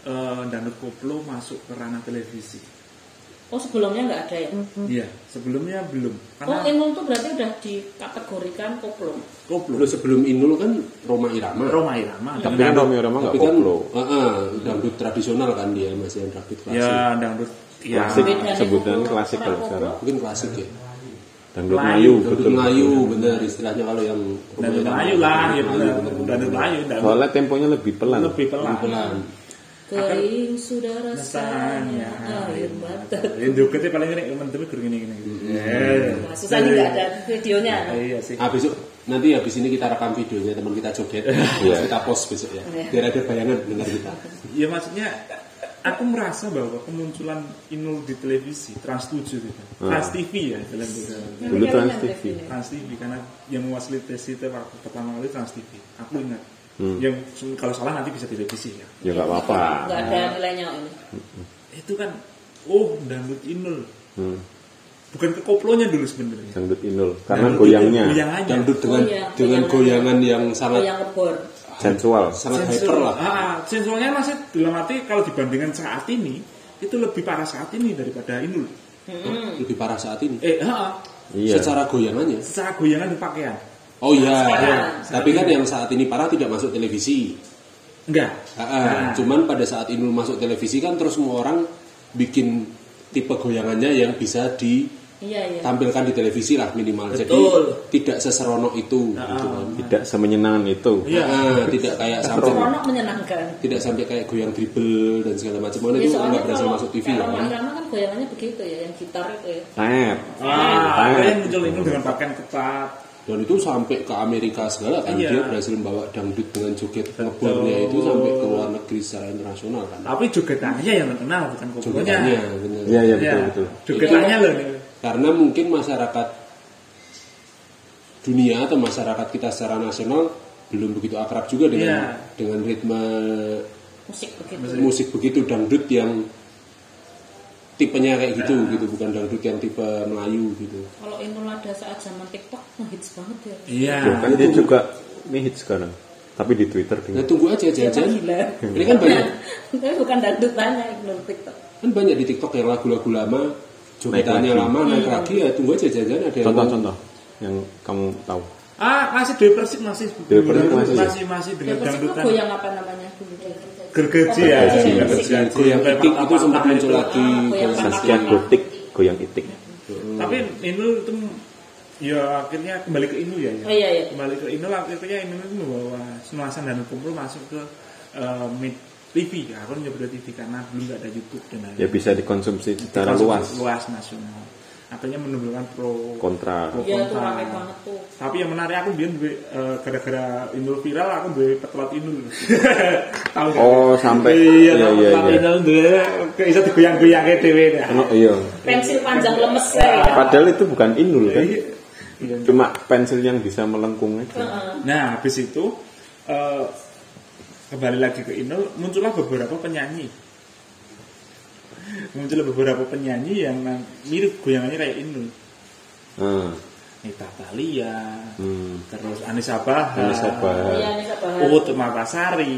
[SPEAKER 1] eh, dangdut koplo masuk ke ranah televisi.
[SPEAKER 3] Oh sebelumnya nggak ada ya?
[SPEAKER 1] Iya, sebelumnya belum.
[SPEAKER 3] Oh
[SPEAKER 1] Karena
[SPEAKER 3] Inul tuh berarti udah dikategorikan koplo.
[SPEAKER 1] koplo
[SPEAKER 4] Lalu sebelum Inul kan Roma Irama.
[SPEAKER 1] Roma Irama
[SPEAKER 2] tapi
[SPEAKER 1] dangdut-
[SPEAKER 2] kan Romeo Rama nggak
[SPEAKER 4] Tapi kan
[SPEAKER 2] koplo
[SPEAKER 4] ah, ah, dangdut tradisional kan dia masih yang dangdut klasik.
[SPEAKER 1] ya dangdut ya
[SPEAKER 2] klasik
[SPEAKER 3] Bedanya
[SPEAKER 2] sebutan
[SPEAKER 3] koplo
[SPEAKER 2] klasik
[SPEAKER 3] sama
[SPEAKER 2] kalau
[SPEAKER 3] koplo.
[SPEAKER 2] sekarang
[SPEAKER 4] Mungkin klasik ya.
[SPEAKER 2] dangdut
[SPEAKER 1] Melayu,
[SPEAKER 2] Melayu
[SPEAKER 4] Dangdut
[SPEAKER 2] betul
[SPEAKER 4] Melayu bener istilahnya kalau yang Roma
[SPEAKER 1] dangdut
[SPEAKER 4] Irama.
[SPEAKER 1] Melayu lah ya
[SPEAKER 4] Melayu,
[SPEAKER 1] benar.
[SPEAKER 4] bener, bener.
[SPEAKER 1] dangdut Melayu dangdut
[SPEAKER 2] soalnya temponya lebih pelan
[SPEAKER 1] lebih pelan.
[SPEAKER 4] Pelan.
[SPEAKER 3] Kering sudah
[SPEAKER 1] Rasanya
[SPEAKER 3] rasanya air mata.
[SPEAKER 1] Ya, jogetnya paling ini menteri gini gini. gini.
[SPEAKER 4] Mm-hmm.
[SPEAKER 3] Nah, susahnya nggak ada videonya.
[SPEAKER 1] Ya, Iya sih.
[SPEAKER 4] Ah besok nanti habis ini kita rekam videonya teman kita joget,
[SPEAKER 2] Iya.
[SPEAKER 4] terus kita post besok ya.
[SPEAKER 3] Iya.
[SPEAKER 4] Biar ada bayangan dengar kita.
[SPEAKER 1] Ya maksudnya aku merasa bahwa kemunculan Inul di televisi Trans 7 itu.
[SPEAKER 4] Ah.
[SPEAKER 1] Trans TV ya dalam bahasa-
[SPEAKER 3] Nanti
[SPEAKER 2] Dulu
[SPEAKER 3] kalian
[SPEAKER 2] Trans
[SPEAKER 3] nanti
[SPEAKER 2] TV.
[SPEAKER 3] ini.
[SPEAKER 1] Trans TV karena yang mewasili tes itu waktu pertama kali Trans TV. Aku ingat.
[SPEAKER 4] Hmm.
[SPEAKER 1] Yang kalau salah nanti bisa direvisi ya.
[SPEAKER 2] ya nggak apa-apa
[SPEAKER 3] Nggak ada
[SPEAKER 1] Iya.
[SPEAKER 3] nilainya ini.
[SPEAKER 1] Itu kan oh dangdut Inul.
[SPEAKER 2] Hmm,
[SPEAKER 1] Bukan ke koplonya dulu sebenarnya.
[SPEAKER 2] dangdut Inul karena
[SPEAKER 1] Dangdut
[SPEAKER 2] goyangnya
[SPEAKER 1] itu Goyangannya.
[SPEAKER 4] Dangdut dengan
[SPEAKER 3] Oh, iya. Oh,
[SPEAKER 4] dengan goyangan yang sangat
[SPEAKER 3] Yang lebor.
[SPEAKER 2] sensual
[SPEAKER 4] sangat hyper
[SPEAKER 1] Sensual.
[SPEAKER 4] lah.
[SPEAKER 1] Ah, sensualnya masih dalam arti kalau dibandingkan saat ini itu lebih parah saat ini daripada Inul.
[SPEAKER 4] Lebih parah saat ini.
[SPEAKER 1] Eh, ah, ah.
[SPEAKER 2] iya
[SPEAKER 4] Secara goyangannya.
[SPEAKER 1] secara goyangan dan pakaian.
[SPEAKER 4] Oh iya.
[SPEAKER 3] Sekarang.
[SPEAKER 4] Tapi kan yang saat ini parah tidak masuk televisi.
[SPEAKER 1] Enggak.
[SPEAKER 4] Ah, ah. Cuman pada saat Inul masuk televisi kan terus semua orang bikin tipe goyangannya yang bisa ditampilkan
[SPEAKER 3] Iya iya.
[SPEAKER 4] di televisi lah minimal.
[SPEAKER 1] Betul. Ah,
[SPEAKER 4] Jadi tidak seseronok itu. gitu kan.
[SPEAKER 2] tidak semenyenangan itu
[SPEAKER 1] Iya.
[SPEAKER 4] Ah, tidak kayak sampai
[SPEAKER 3] Seronok menyenangkan.
[SPEAKER 4] tidak sampai kayak goyang dribble dan segala macam. Karena
[SPEAKER 3] Ya,
[SPEAKER 4] itu
[SPEAKER 3] soalnya
[SPEAKER 4] nggak berhasil
[SPEAKER 3] kalau-
[SPEAKER 4] masuk TV lah.
[SPEAKER 3] kalau
[SPEAKER 4] kan.
[SPEAKER 3] Mas Rama kan goyangannya begitu ya, yang gitar itu ya.
[SPEAKER 2] Tet. iya,
[SPEAKER 1] Ah,
[SPEAKER 2] Tet.
[SPEAKER 1] makanya muncul Inul dengan pakaian ketat.
[SPEAKER 4] Dan itu sampai ke Amerika segala kan
[SPEAKER 1] Iya.
[SPEAKER 4] dia berhasil membawa dangdut dengan joget ngebornya itu sampai ke luar negeri secara internasional kan.
[SPEAKER 1] Tapi jogetannya yang terkenal bukan koplonya.
[SPEAKER 4] Jogetannya, bener.
[SPEAKER 2] Iya iya
[SPEAKER 1] Ya,
[SPEAKER 2] betul betul.
[SPEAKER 1] jogetannya loh nih.
[SPEAKER 4] Karena mungkin masyarakat dunia atau masyarakat kita secara nasional belum begitu akrab juga dengan
[SPEAKER 1] Iya.
[SPEAKER 4] dengan ritme
[SPEAKER 3] Musik begitu.
[SPEAKER 4] musik begitu dangdut yang tipenya kayak gitu gitu bukan dangdut yang tipe Melayu gitu.
[SPEAKER 3] Kalau Inul ada saat zaman TikTok ngehits banget ya.
[SPEAKER 1] Iya.
[SPEAKER 2] Tuh, kan dia juga ini hits sekarang. Tapi di Twitter
[SPEAKER 4] Nah
[SPEAKER 2] dingin.
[SPEAKER 4] tunggu aja jajan.
[SPEAKER 3] Gila.
[SPEAKER 4] [laughs] Ini kan banyak
[SPEAKER 3] Tapi bukan dangdut tanya Inul TikTok.
[SPEAKER 4] kan banyak di TikTok yang lagu-lagu lama,
[SPEAKER 2] Naik
[SPEAKER 4] jogetannya
[SPEAKER 2] lagi.
[SPEAKER 4] lama naik lagi ya tunggu aja jajan
[SPEAKER 2] iya.
[SPEAKER 4] ada yang mau-
[SPEAKER 2] Contoh-contoh yang kamu tahu.
[SPEAKER 1] Ah, masih Dewi Persik masih
[SPEAKER 2] Dewi Persik masih,
[SPEAKER 1] masih
[SPEAKER 2] ya?
[SPEAKER 1] masih, masih dengan
[SPEAKER 3] Depresi itu
[SPEAKER 1] dangdutan
[SPEAKER 3] goyang apa namanya gitu. dulu dia?
[SPEAKER 1] gergeji ya.
[SPEAKER 2] Gergeji.
[SPEAKER 1] Gergeji.
[SPEAKER 4] Gergeji. Goyang
[SPEAKER 1] Kayak
[SPEAKER 4] itik iya. itu
[SPEAKER 1] patah-patah
[SPEAKER 4] sempat muncul
[SPEAKER 1] itu.
[SPEAKER 4] lagi.
[SPEAKER 1] Iya,
[SPEAKER 3] Ah, goyang
[SPEAKER 4] Goyang
[SPEAKER 3] patah-patah.
[SPEAKER 2] Saskia Gotik goyang itik.
[SPEAKER 1] Tapi Inul itu ya akhirnya kembali ke Inul ya. ya.
[SPEAKER 3] Oh, iya, iya.
[SPEAKER 1] Kembali ke Inul akhirnya Inul itu membawa senuasan dan kumpul masuk ke eh, mid TV ya, aku nyoba TV karena belum nggak ada YouTube dan lain-lain.
[SPEAKER 2] Ya bisa dikonsumsi secara
[SPEAKER 1] Masuk
[SPEAKER 2] luas.
[SPEAKER 1] luas nasional. Akhirnya menimbulkan pro
[SPEAKER 2] Kontra.
[SPEAKER 1] pro
[SPEAKER 3] Iya tuh
[SPEAKER 1] kontra.
[SPEAKER 3] rame banget tuh.
[SPEAKER 1] Tapi yang menarik aku biar duwe, eh, gara-gara Indul viral aku duwe petualat Indul. [laughs] Tahu nggak?
[SPEAKER 2] Oh, sampai-
[SPEAKER 1] iya
[SPEAKER 2] iya,
[SPEAKER 1] iya
[SPEAKER 2] iya,
[SPEAKER 1] iya.
[SPEAKER 2] iya.
[SPEAKER 1] Indul duwe kayak iso digoyang-goyangke dhewe. dah.
[SPEAKER 2] Oh, iya.
[SPEAKER 3] Pensil panjang lemes ya.
[SPEAKER 2] Padahal itu bukan inul kan.
[SPEAKER 1] Iya. Iya.
[SPEAKER 2] Cuma pensil yang bisa melengkung aja.
[SPEAKER 3] Heeh.
[SPEAKER 1] Nah, habis itu eh, kembali lagi ke Indul muncullah beberapa penyanyi. Muncullah beberapa penyanyi yang na- mirip goyangannya kayak Indul.
[SPEAKER 2] Hmm.
[SPEAKER 1] Nita Thalia,
[SPEAKER 2] Hmm.
[SPEAKER 1] terus Anissa Bahar.
[SPEAKER 2] Anissa Bahar. Nah.
[SPEAKER 3] Iya Nisa Bahar.
[SPEAKER 1] Uut Matasari,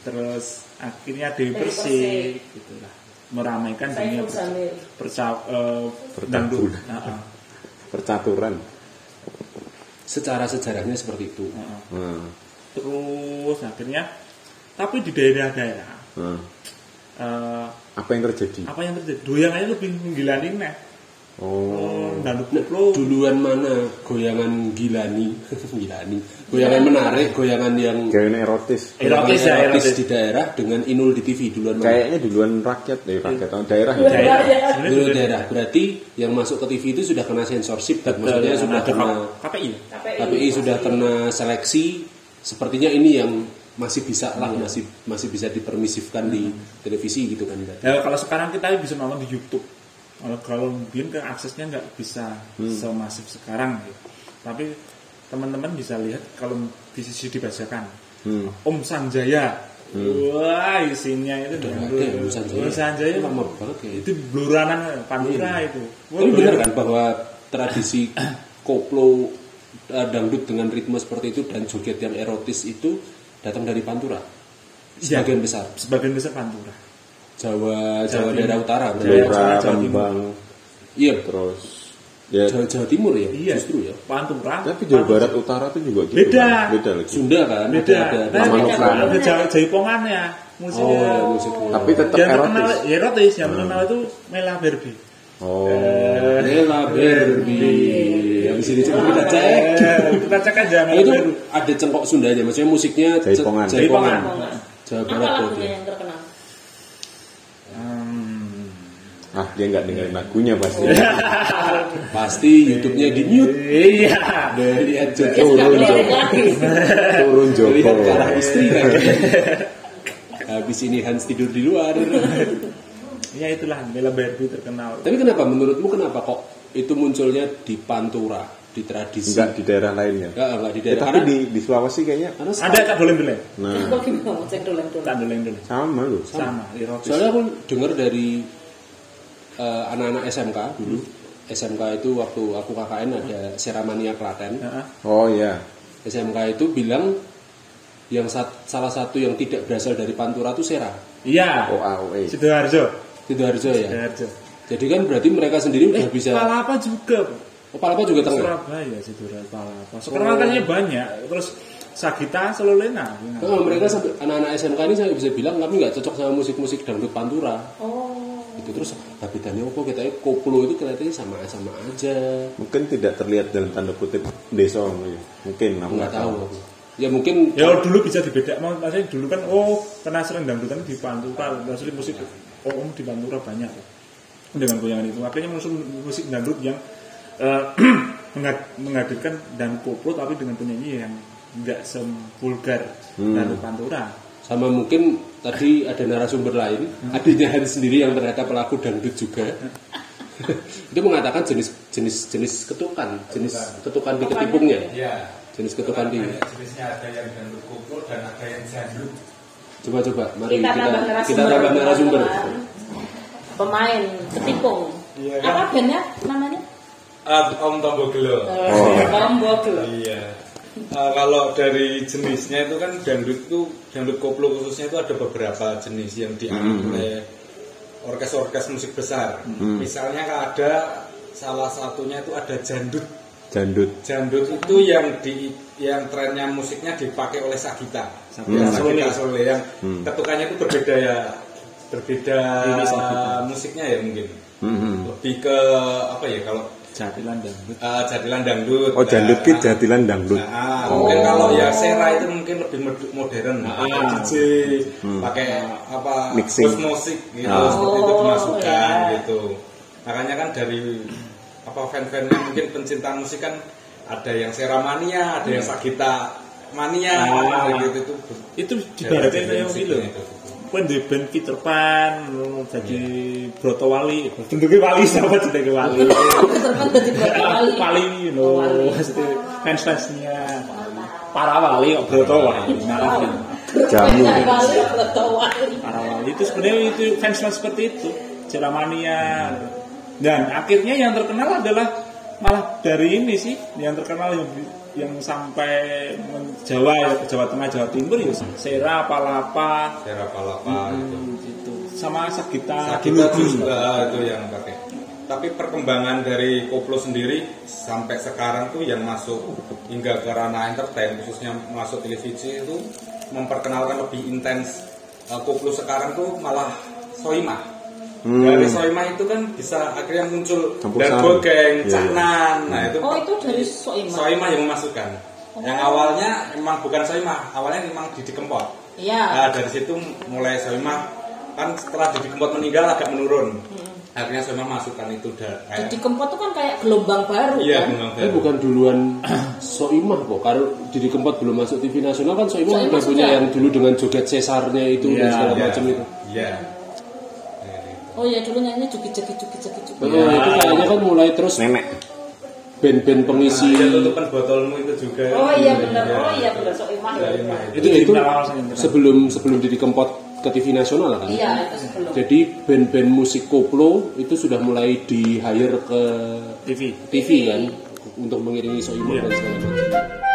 [SPEAKER 1] terus akhirnya Dewi
[SPEAKER 3] Dewi
[SPEAKER 1] Persik, gitu lah. meramaikan dunia
[SPEAKER 3] Saiful Jamil.
[SPEAKER 1] perca eh,
[SPEAKER 2] Percabulan.
[SPEAKER 1] dangdut. Nah, ah.
[SPEAKER 2] Percaturan.
[SPEAKER 4] secara sejarahnya seperti itu
[SPEAKER 1] Heeh.
[SPEAKER 2] Nah,
[SPEAKER 1] terus akhirnya tapi di daerah-daerah
[SPEAKER 2] nah.
[SPEAKER 1] eh,
[SPEAKER 2] Apa yang terjadi?
[SPEAKER 1] apa yang terjadi doyang aja lebih menggilanin nih
[SPEAKER 2] Oh,
[SPEAKER 1] dan
[SPEAKER 4] Nah,
[SPEAKER 1] koplo
[SPEAKER 4] duluan mana goyangan gilani [laughs] gilani goyangan menarik goyangan yang
[SPEAKER 2] kayaknya erotis.
[SPEAKER 1] Erotis ya,
[SPEAKER 4] erotis
[SPEAKER 1] erotis.
[SPEAKER 4] di daerah dengan inul di TV duluan mana
[SPEAKER 2] Kayaknya duluan rakyat dari rakyat oh, daerah. ya?
[SPEAKER 1] Iya.
[SPEAKER 3] Daerah.
[SPEAKER 1] Sebenarnya
[SPEAKER 4] Dulu
[SPEAKER 1] sudah-
[SPEAKER 4] daerah berarti yang masuk ke TV itu sudah kena sensorship dan maksudnya
[SPEAKER 1] Ada-
[SPEAKER 4] sudah
[SPEAKER 1] ada
[SPEAKER 4] kena
[SPEAKER 1] KPI ya?
[SPEAKER 4] KPI sudah kena seleksi sepertinya ini yang masih bisa
[SPEAKER 1] Iya.
[SPEAKER 4] lah masih masih bisa dipermisifkan di televisi gitu kan berarti.
[SPEAKER 1] Ya, kalau sekarang kita bisa nonton di YouTube. Kalau kalau mungkin kan aksesnya nggak bisa
[SPEAKER 4] Hmm.
[SPEAKER 1] semasif sekarang gitu. Tapi teman-teman bisa lihat kalau di sisi dibacakan.
[SPEAKER 4] Hmm.
[SPEAKER 1] Om Sanjaya. Wah, isinya itu
[SPEAKER 4] Udah
[SPEAKER 1] dengan
[SPEAKER 4] nggak ada ya,
[SPEAKER 1] blur-
[SPEAKER 4] Hmm. Om Sanjaya.
[SPEAKER 1] Om Sanjaya
[SPEAKER 4] Lama banget ya.
[SPEAKER 1] Itu bluranan Pandura itu. Wah,
[SPEAKER 4] Tapi
[SPEAKER 1] blur-
[SPEAKER 4] Iya. benar kan bahwa tradisi koplo eh, dangdut dengan ritme seperti itu dan joget yang erotis itu datang dari Pantura.
[SPEAKER 1] Iya.
[SPEAKER 4] Sebagian besar
[SPEAKER 1] Sebagian besar Pantura.
[SPEAKER 4] Jawa
[SPEAKER 1] Jawa
[SPEAKER 4] Jawa daerah
[SPEAKER 1] Timur.
[SPEAKER 4] utara. kan?
[SPEAKER 1] Jawa-
[SPEAKER 2] Daerah
[SPEAKER 1] Jawa Timur.
[SPEAKER 2] Rembang,
[SPEAKER 4] Iya,
[SPEAKER 2] terus ya.
[SPEAKER 4] Jawa, Jawa Timur ya,
[SPEAKER 1] Iya,
[SPEAKER 4] justru ya.
[SPEAKER 1] Pantura.
[SPEAKER 2] Tapi Jawa
[SPEAKER 1] Pantura.
[SPEAKER 2] Barat Utara tuh juga gitu.
[SPEAKER 1] Beda.
[SPEAKER 2] kan? Beda lagi.
[SPEAKER 4] Sunda kan
[SPEAKER 1] beda.
[SPEAKER 4] ada
[SPEAKER 1] Nah,
[SPEAKER 4] nama
[SPEAKER 1] ada-
[SPEAKER 4] lokal.
[SPEAKER 1] ada Jawa Jaipongannya musiknya.
[SPEAKER 4] Oh, ada musiknya.
[SPEAKER 2] Tapi tetap
[SPEAKER 1] yang terkenal
[SPEAKER 2] erotis.
[SPEAKER 1] ya erotis yang terkenal itu Mela [laughs] Barbie
[SPEAKER 2] Oh,
[SPEAKER 4] Rela Barbie. Habis ini coba kita cek.
[SPEAKER 1] Ya, kita cek aja
[SPEAKER 4] Nah, itu ada cengkok Sunda aja, maksudnya musiknya ce-
[SPEAKER 2] Jaipongan.
[SPEAKER 4] Jaipongan.
[SPEAKER 3] Jaipongan.
[SPEAKER 4] Jawa
[SPEAKER 3] apa
[SPEAKER 4] Barat berarti.
[SPEAKER 3] lagunya yang terkenal?
[SPEAKER 1] Hmm.
[SPEAKER 2] ah dia nggak dengerin lagunya pasti.
[SPEAKER 4] Pasti YouTube-nya di mute.
[SPEAKER 1] iya
[SPEAKER 4] Lihat joget.
[SPEAKER 2] Oh,
[SPEAKER 3] Nggak
[SPEAKER 2] Turun
[SPEAKER 3] boleh
[SPEAKER 2] Joko,
[SPEAKER 3] lagi.
[SPEAKER 2] turun Joko.
[SPEAKER 4] Lihat ke arah istri lagi. Habis ini Hans tidur di luar.
[SPEAKER 1] ya itulah Mela Barbie terkenal
[SPEAKER 4] Tapi kenapa menurutmu kenapa kok itu munculnya di Pantura, di tradisi?
[SPEAKER 2] Enggak di daerah lainnya.
[SPEAKER 4] Enggak, enggak di
[SPEAKER 2] Ya,
[SPEAKER 4] daerah.
[SPEAKER 2] tapi
[SPEAKER 4] Karena,
[SPEAKER 2] di di Sulawesi kayaknya
[SPEAKER 4] karena
[SPEAKER 1] ada kak boleh boleh
[SPEAKER 2] nah
[SPEAKER 3] Kok gimana? Cek dolen-dolen.
[SPEAKER 1] tak boleh boleh
[SPEAKER 2] sama loh.
[SPEAKER 1] sama erotis
[SPEAKER 4] Soalnya aku dengar dari eh, anak-anak SMK dulu. SMK itu waktu aku KKN ada Seramania Klaten.
[SPEAKER 1] Heeh.
[SPEAKER 2] Oh ya.
[SPEAKER 4] SMK itu bilang yang sat- salah satu yang tidak berasal dari Pantura itu Sera.
[SPEAKER 1] iya
[SPEAKER 2] OAOE.
[SPEAKER 1] Sidoarjo
[SPEAKER 4] Sidoarjo ya.
[SPEAKER 1] Sidoarjo Eh,
[SPEAKER 4] Jadi kan berarti mereka sendiri udah bisa
[SPEAKER 1] Palapa juga
[SPEAKER 4] Oh, Palapa juga tengah.
[SPEAKER 1] Surabaya Sidoarjo Palapa sekarang makanya banyak terus Sagita Sololena
[SPEAKER 4] Nah, mereka sampai anak-anak SMK ini saya bisa bilang kami nggak cocok sama musik-musik dangdut Pantura.
[SPEAKER 3] Oh.
[SPEAKER 4] Itu terus tapi bedanya apa kita koplo itu kelihatannya sama sama aja.
[SPEAKER 2] Mungkin tidak terlihat dalam tanda kutip desa mungkin. Mungkin aku
[SPEAKER 4] Nggak tahu. aku. Ya mungkin
[SPEAKER 1] ya dulu bisa dibeda mau maksudnya dulu kan oh penasaran dangdutan di Pantura maksudnya musik oh om di Pantura banyak dengan goyangan itu akhirnya muncul musik dangdut yang eh, [clears throat] menghad- menghadirkan dan koplo tapi dengan penyanyi yang nggak sempulgar dangdut Pantura
[SPEAKER 4] sama mungkin tadi ada narasumber lain adiknya Hans sendiri yang ternyata pelaku dangdut juga itu mengatakan jenis jenis jenis ketukan jenis ketukan di ketipungnya
[SPEAKER 5] Ya,
[SPEAKER 4] jenis ketukan di
[SPEAKER 5] banyak jenisnya Ya, ada yang dangdut koplo dan ada yang jandruk.
[SPEAKER 4] coba coba mari
[SPEAKER 3] Kita
[SPEAKER 4] kita
[SPEAKER 3] tambah
[SPEAKER 4] kita
[SPEAKER 3] narasumber.
[SPEAKER 4] tambah narasumber
[SPEAKER 3] Pemain ketipung.
[SPEAKER 5] Iya.
[SPEAKER 3] Apa bandnya namanya?
[SPEAKER 5] Ah, Om Tombo
[SPEAKER 3] Oh.
[SPEAKER 5] Gelo.
[SPEAKER 4] Oh.
[SPEAKER 3] Lombok loh.
[SPEAKER 5] Iya. Eh, kalau dari jenisnya itu kan dangdut itu dangdut koplo khususnya itu ada beberapa jenis yang diangkat oleh orkes-orkes musik besar. Misalnya ada salah satunya itu ada jandut.
[SPEAKER 2] Jandut.
[SPEAKER 5] Jandut itu yang di yang trennya musiknya dipakai oleh Sagita.
[SPEAKER 1] Sagita
[SPEAKER 5] Ya,
[SPEAKER 1] Solo.
[SPEAKER 5] Sagita Solo yang ketukannya itu berbeda ya. Berbeda musiknya ya mungkin.
[SPEAKER 2] Mm-hmm.
[SPEAKER 5] Lebih ke apa ya kalau
[SPEAKER 1] jatilan dangdut
[SPEAKER 5] eh, jadilan dangdut.
[SPEAKER 2] Oh jandut
[SPEAKER 5] Nah,
[SPEAKER 2] ki jatilan dangdut.
[SPEAKER 4] Ah,
[SPEAKER 2] Oh.
[SPEAKER 5] Nah, mungkin kalau ya Sera itu mungkin lebih mod- modern, pakai DJ, pakai apa
[SPEAKER 2] Hmm. Mixing.
[SPEAKER 5] bus musik gitu,
[SPEAKER 2] Ah.
[SPEAKER 5] seperti itu dimasukkan
[SPEAKER 3] Oh, ya.
[SPEAKER 5] gitu. Makanya kan dari apa fan-fannya mungkin pencinta musik kan ada yang Sera mania, ada yang Sagita mania, gitu itu.
[SPEAKER 1] itu di
[SPEAKER 5] Dari
[SPEAKER 1] baratnya
[SPEAKER 5] jenis
[SPEAKER 1] kayak gitu
[SPEAKER 5] musiknya itu.
[SPEAKER 1] kan di band Peter Pan jadi Broto Wali Iya. bentuknya Wali sama jenenge Wali
[SPEAKER 3] Teman jadi berapa kali?
[SPEAKER 1] Wali loh fans fansnya para Wali kok Broto Wali malah
[SPEAKER 2] Jamu.
[SPEAKER 3] Wali atau wali?
[SPEAKER 1] para wali itu sebenarnya itu fans fans seperti itu ceramania dan akhirnya yang terkenal adalah malah dari ini sih yang terkenal yang, yang sampai men- Jawa ya, Jawa Tengah Jawa Timur ya Sera Palapa
[SPEAKER 5] Sera Palapa gitu.
[SPEAKER 1] gitu sama Sagita
[SPEAKER 5] Sagita
[SPEAKER 1] Gelugi.
[SPEAKER 5] juga itu yang pakai. tapi perkembangan dari koplo sendiri sampai sekarang tuh yang masuk hingga ke ranah entertain khususnya masuk televisi itu memperkenalkan lebih intens Eh, koplo sekarang tuh malah soimah dari soimah itu kan bisa akhirnya muncul
[SPEAKER 2] Hmm. Campur
[SPEAKER 5] dan
[SPEAKER 2] sari.
[SPEAKER 5] gogeng,
[SPEAKER 2] Iya, iya.
[SPEAKER 5] caknan, nah itu
[SPEAKER 3] Oh itu Oh. dari Soima.
[SPEAKER 5] soimah yang memasukkan. Yang awalnya memang bukan soimah, awalnya memang Didi Kempot.
[SPEAKER 3] Iya.
[SPEAKER 5] Nah, dari situ mulai Soimah kan setelah Didi Kempot meninggal agak menurun. Akhirnya Soimah masukkan itu dari
[SPEAKER 3] Jadi Kempot tuh kan kayak gelombang baru
[SPEAKER 5] Iya,
[SPEAKER 3] kan.
[SPEAKER 5] Bung
[SPEAKER 4] Tapi
[SPEAKER 5] Abel.
[SPEAKER 4] bukan duluan Soimah kok, karena Didi Kempot belum masuk TV nasional kan Soimah
[SPEAKER 3] Soimah
[SPEAKER 4] udah punya
[SPEAKER 3] sudah.
[SPEAKER 4] yang dulu dengan joget sesarnya itu
[SPEAKER 1] Iya,
[SPEAKER 4] dan segala
[SPEAKER 5] Iya.
[SPEAKER 4] macam itu.
[SPEAKER 5] Iya.
[SPEAKER 3] Oh ya dulu nyanyinya juki juki juki juki juki.
[SPEAKER 4] Nah, itu kayaknya kan mulai terus
[SPEAKER 2] nenek
[SPEAKER 4] band-band
[SPEAKER 5] Si
[SPEAKER 4] pengisi
[SPEAKER 5] tutupan botolmu itu juga.
[SPEAKER 3] Oh iya benar. Oh iya benar Soima.
[SPEAKER 5] Soimah.
[SPEAKER 4] itu itu sebelum sebelum Didi Kempot ke TV nasional kan.
[SPEAKER 3] Iya itu sebelum.
[SPEAKER 4] Jadi band-band musik koplo itu sudah mulai di hire ke
[SPEAKER 1] TV
[SPEAKER 4] TV kan untuk mengiringi Soimah dan segala macam.